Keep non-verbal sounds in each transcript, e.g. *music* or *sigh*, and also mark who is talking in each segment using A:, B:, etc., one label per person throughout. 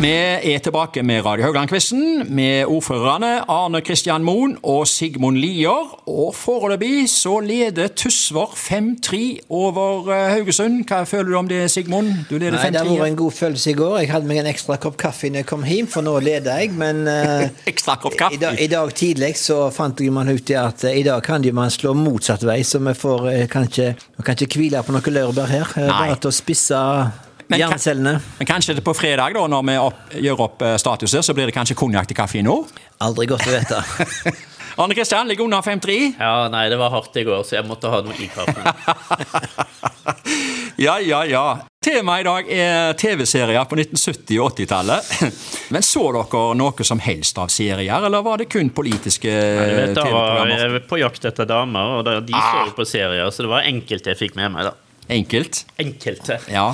A: Vi er tilbake med Radio Haugland-quizen med ordførerne Arne Kristian Moen og Sigmund Lier. Og foreløpig så leder Tysvær 5-3 over eh, Haugesund. Hva føler du om det, Sigmund? Du leder
B: Nei, det har vært
A: 5-3.
B: en god følelse i går. Jeg hadde meg en ekstra kopp kaffe når jeg kom hjem, for nå leder jeg. Men eh,
A: Ekstra kopp kaffe.
B: I, dag, i dag tidlig så fant jo man ut det at eh, i dag kan jo man slå motsatt vei, så vi får eh, kan ikke, vi kan ikke hvile på noen laurbær her. Eh,
A: Nei.
B: Bare til å spisse
A: Men kan-
B: jerncellene.
A: Men kanskje det på fredag, da, når vi opp, gjør opp eh, statuser, så blir det kanskje konjakk til kaffe nå?
B: Aldri godt å vite.
A: *laughs* Arne Kristian ligger under 5-3.
C: Ja, nei, det var hardt i går, så jeg måtte ha noe i kaffen.
A: Ja, ja, ja. Temaet i dag er TV-serier på 1970- og 80-tallet. *laughs* Men så dere noe som helst av serier, eller var det kun politiske
C: Du vet, da var
A: TV-programmer?
C: jeg på jakt etter damer, og da- de så jo på serier, så det var enkelte jeg fikk med meg, da.
A: Enkelt.
C: Enkelte.
A: Ja.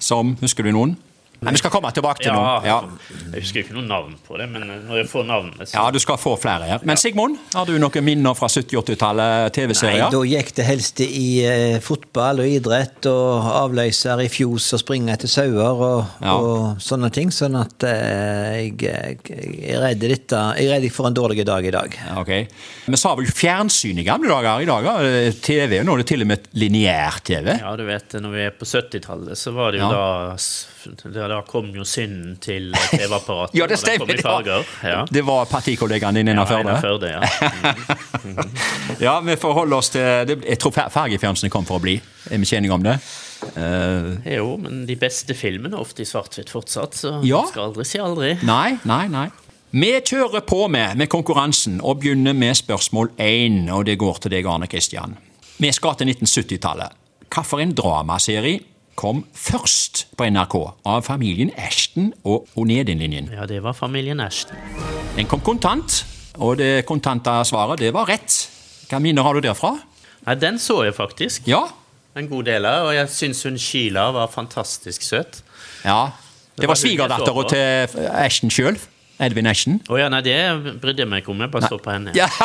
A: Som Husker du noen? Nei, vi skal komme tilbake til noen. Ja.
C: Ja, jeg husker ikke noe navn på det, men eh, når jeg får navnet,
A: ja,
C: så
A: du skal få flere her. Men Sigmund, har du noen minner fra 70- og 80-tallet
B: Nei,
A: TV-serier?
B: Da gikk det helst i eh, fotball og idrett og avløser i fjos og springe etter sauer og,
A: Ja.
B: og sånne ting. Sånn at eh, jeg, jeg, er redd dette, jeg er redd jeg får en dårlig dag i dag.
A: Ja, Ok. Vi sa vel fjernsyn i gamle dager. I dag er det TV, nå er det til og med lineær-TV.
C: Ja, du vet, når vi er på 70-tallet, så var det
A: Ja.
C: jo da s- da Da kom jo synden til TV-apparatet.
A: *laughs* Ja,
C: og den
A: det stemmer.
C: kom i
A: det
C: farger.
A: var-
C: Ja.
A: Det var partikollegaen din innenfor
C: Ja,
A: ja, det.
C: innenfor det,
A: *laughs*
C: ja.
A: Ja, vi får holde oss til det, Jeg tror fer- fargefjernsynet kom for å bli. Er vi enige om det? Eh,
C: Jo, men de beste filmene er ofte i svart-hvitt fortsatt, så
A: Ja.
C: man skal aldri si aldri.
A: nei, nei, nei. Vi kjører på med, med konkurransen og begynner med spørsmål én. Og det går til deg, Arne Kristian. Vi skal til 1970-tallet. Hvilken dramaserie kom først på NRK av familien Ashton og Onedin-linjen?
C: Ja, det var familien Ashton.
A: Den kom kontant, og det kontante svaret det var rett. Hva minner har du derfra?
C: Nei, den så jeg faktisk.
A: Ja,
C: En god del av, og jeg syns hun Sheila var fantastisk søt.
A: Ja. Det var
C: var hun jeg så
A: svigerdattera
C: på.
A: til Ashton sjøl. Edvin Ashton.
C: Å ja, nei, det brydde jeg meg ikke om. Jeg bare så på henne.
A: Ja, *laughs*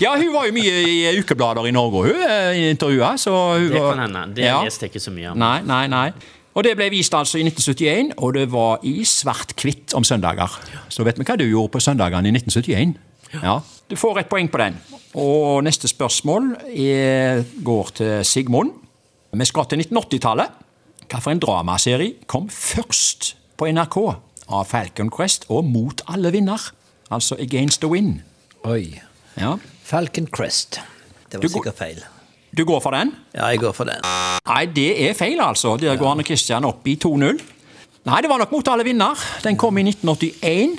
A: ja, hun var jo mye i ukeblader i Norge, hun, eh, i intervjua. Så hun
C: Det
A: var-
C: kan hende. Det
A: Ja.
C: leste jeg ikke så mye om.
A: Nei, nei, nei. Og det ble vist altså i 1971, og det var i svart-hvitt om søndager. Så vet vi hva du gjorde på søndagene i 1971. Ja. Du får et poeng på den. Og neste spørsmål er, går til Sigmund. Vi skal til 1980-tallet. Hvilken dramaserie kom først på NRK av Falcon Crest og Mot alle vinner? Altså Against the Wind.
B: Oi.
A: Ja.
B: Falcon Crest. Det
A: Du
B: var
A: går-
B: sikkert feil.
A: Du går for den?
B: Ja, jeg går for den.
A: Nei, det er feil, altså. Der går Arne Kristian opp i 2-0. Nei, det var nok mot alle vinner. Den kom i 1981.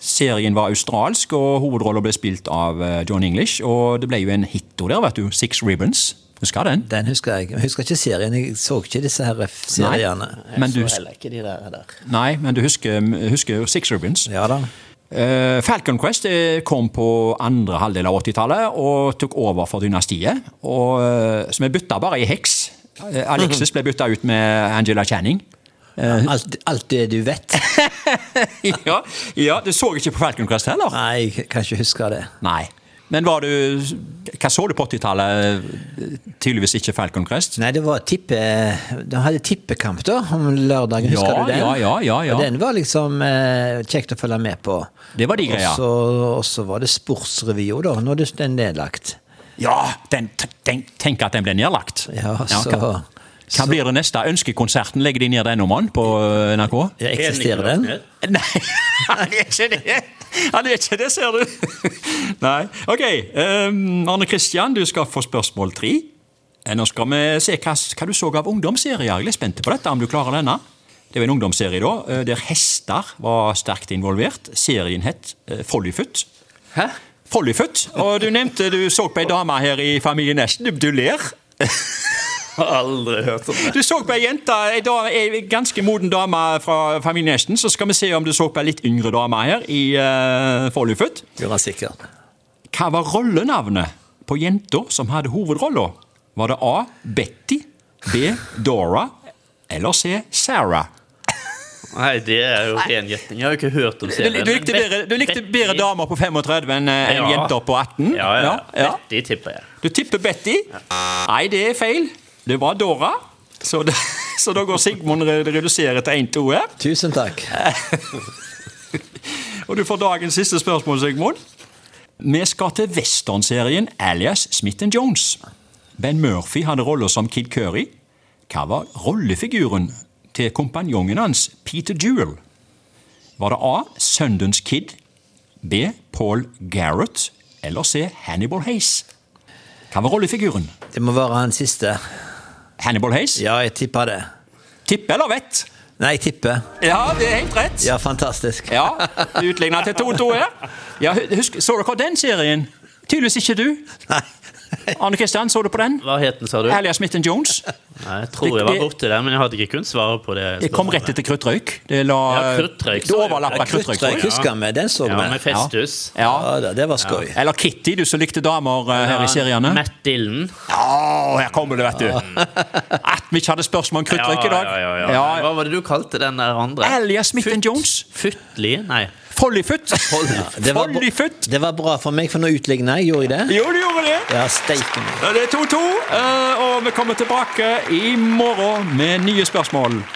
A: Serien var australsk, og hovedrollen ble spilt av eh, John English. Og det ble jo en hit der, vet du. Six Ribbons. Husker den?
B: Den husker jeg. Jeg husker ikke serien. Jeg så ikke disse her f- seriene.
A: men du,
C: Så heller ikke de der, der.
A: nei, men du husker, husker Six Ribbons?
B: Ja da.
A: Eh, Falcon Quest eh, kom på andre halvdel av 80-tallet og tok over for dynastiet. Og, eh, så vi bytta bare i heks. Eh, *laughs* Alexis ble bytta ut med Angela Channing. Eh,
B: Alt, alt det du vet.
A: ja, ja, du så ikke på Falcon Crest heller?
B: Nei, jeg kan ikke huske det.
A: Nei. Men var du, hva så du på 80-tallet? Tydeligvis ikke Falcon Crest.
B: Nei, det var tippe... De hadde tippekamp da, om lørdagen, husker
A: Ja,
B: du den?
A: ja, ja, ja, ja.
B: Og den var liksom eh, kjekt å følge med på.
A: Det var de greia.
B: Og så, og så var det sportsrevy også da, når det- den er nedlagt.
A: Ja, den, den, tenk at den ble nedlagt.
B: Ja, så...
A: hva, hva blir det neste? Ønskekonserten, legger de ned den om han på eh, NRK?
B: Ja, eksisterer den?
A: *laughs* Nei, han er ikke det! Han er ikke det, ser du. *laughs* Nei. Ok, ehm, Arne Kristian, du skal få spørsmål tre. Eh, Nå skal vi se hva, hva du så av ungdomsserier. Jeg er litt spent på dette, om du klarer denne. Det var en ungdomsserie da, eh, der hester var sterkt involvert. Serien het eh, Follyfoot.
C: Hæ?
A: Follyfoot. Og du nevnte du så på ei dame her i Familien Ashton. Du, du ler.
C: Har aldri hørt om det.
A: Du så på ei jente, ei, da- ei ganske moden dame fra familien Ashton, så skal vi se om du så på ei litt yngre dame her i uh, Follyfoot.
B: Gjorde han sikkert.
A: Hva var rollenavnet på jenta som hadde hovedrolla? Var det A. Betty, B. Dora eller C. Sarah?
C: Nei, det er jo ren gjetning. Jeg har jo ikke hørt om
A: Du,
C: serien.
A: du likte bedre, du likte bedre damer på 35 enn eh, enn
C: Ja.
A: jenter på 18?
C: Ja, ja.
A: ja.
C: Betty tipper jeg.
A: Du tipper Betty. Nei, det er feil. Det var Dora. Så, det, så da *laughs* går Sigmund re- reduserer til 1-2 her.
B: Tusen takk.
A: Og du får dagens siste spørsmål, Sigmund. Vi skal til westernserien alias Smith Jones. Ben Murphy hadde roller som Kid Curry. Hva var rollefiguren til kompanjongen hans, Peter Jewel? Var det A. Sundance Kid, B. Paul Garrett eller C. Hannibal Hayes? Hva var rollefiguren?
B: Det må være han siste.
A: Hannibal Hayes?
B: Ja, jeg tipper det.
A: Tippe eller vett?
B: Nei, jeg tipper.
A: Ja, det er helt rett.
B: Ja, fantastisk.
A: Ja, utligna til 2-2 her. Ja, hu- husk, Så dere den serien? Tydeligvis ikke du.
B: Nei.
A: Anne Kristian, så du på den?
C: Hva het den, sa du? Nei,
A: Alia Smith Jones.
C: jeg tror jeg var borti den, men jeg hadde ikke kunnet svare på det.
A: Det kom rett etter Kruttrøyk. Det la
C: Ja, Kruttrøyk,
A: Det overlappa
C: ja,
A: Kruttrøyk. tror
B: Kruttrøyk
A: jeg.
B: husker vi. Den så
C: Ja, med
B: vi.
C: Festus.
A: Ja.
B: Ja da, det var skøy.
A: Eller Kitty, du som likte damer eh, her i seriene.
C: Matt Dillon.
A: Å, her kommer det, vet du! At vi ikke hadde spørsmål om
C: Ja,
A: Kruttrøyk i dag.
C: ja, ja, ja. Hva var det du kalte den der andre?
A: Alia Smith Jones.
C: Fytli? Nei.
A: Follyfoot.
B: Det var, bra,
A: Follyfoot.
B: det var bra for meg, for nå utligna jeg. Gjorde jeg det?
A: Jo, du gjorde det.
B: Ja, steike meg.
A: Det er 2-2, eh, og vi kommer tilbake i morgen med nye spørsmål.